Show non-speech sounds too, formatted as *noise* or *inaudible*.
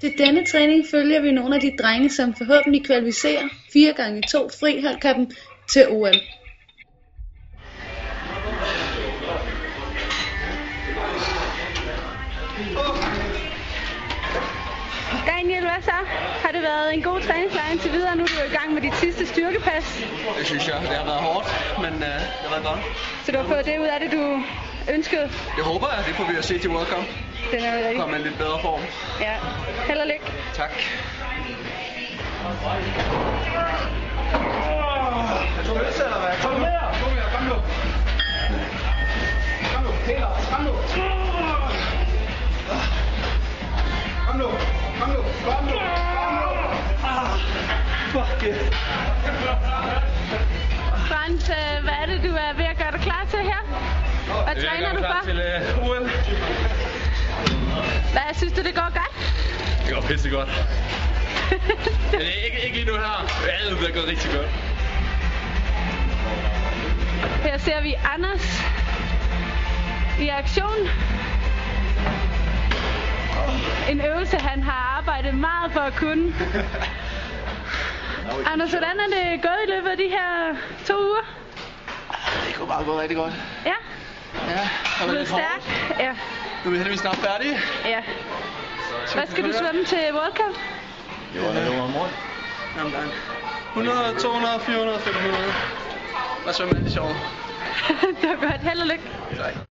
Til denne træning følger vi nogle af de drenge som forhåbentlig kvalificerer 4x2 friholdkampen til OL Daniel, hvad så? Har det været en god træningslejr indtil videre? Nu er du jo i gang med dit sidste styrkepas, Det synes jeg. Det har været hårdt, men øh, det har været godt. så du har fået det ud af det, du ønskede. Det håber jeg, det får vi at se til World Cup. Den er jo rigtig. Komme i en lidt bedre form. Ja. Held og lykke. Tak. Frans, øh, hvad er det, du er ved at gøre dig klar til her? Hvad træner du for? Til øh, OL. Hvad synes du, det går godt? *laughs* Det går pisse godt. Men det er ikke, ikke lige nu her. Alt er gået rigtig godt. Her ser vi Anders i aktion. En øvelse, han har arbejdet meget for at kunne. Anders, hvordan er det gået i løbet af de her to uger? Det kunne bare gå rigtig godt. Ja, Ja, har er været blevet lidt hårdt. stærk. Ja, Nu er vi heldigvis snart færdige. ja. Hvad skal du svømme til World Cup? *laughs* Jo, det var om morgen. Jamen, tak. 100, 200, 400, 500. Hvad svømmer det sjovt? det var godt. Held og lykke. Tak.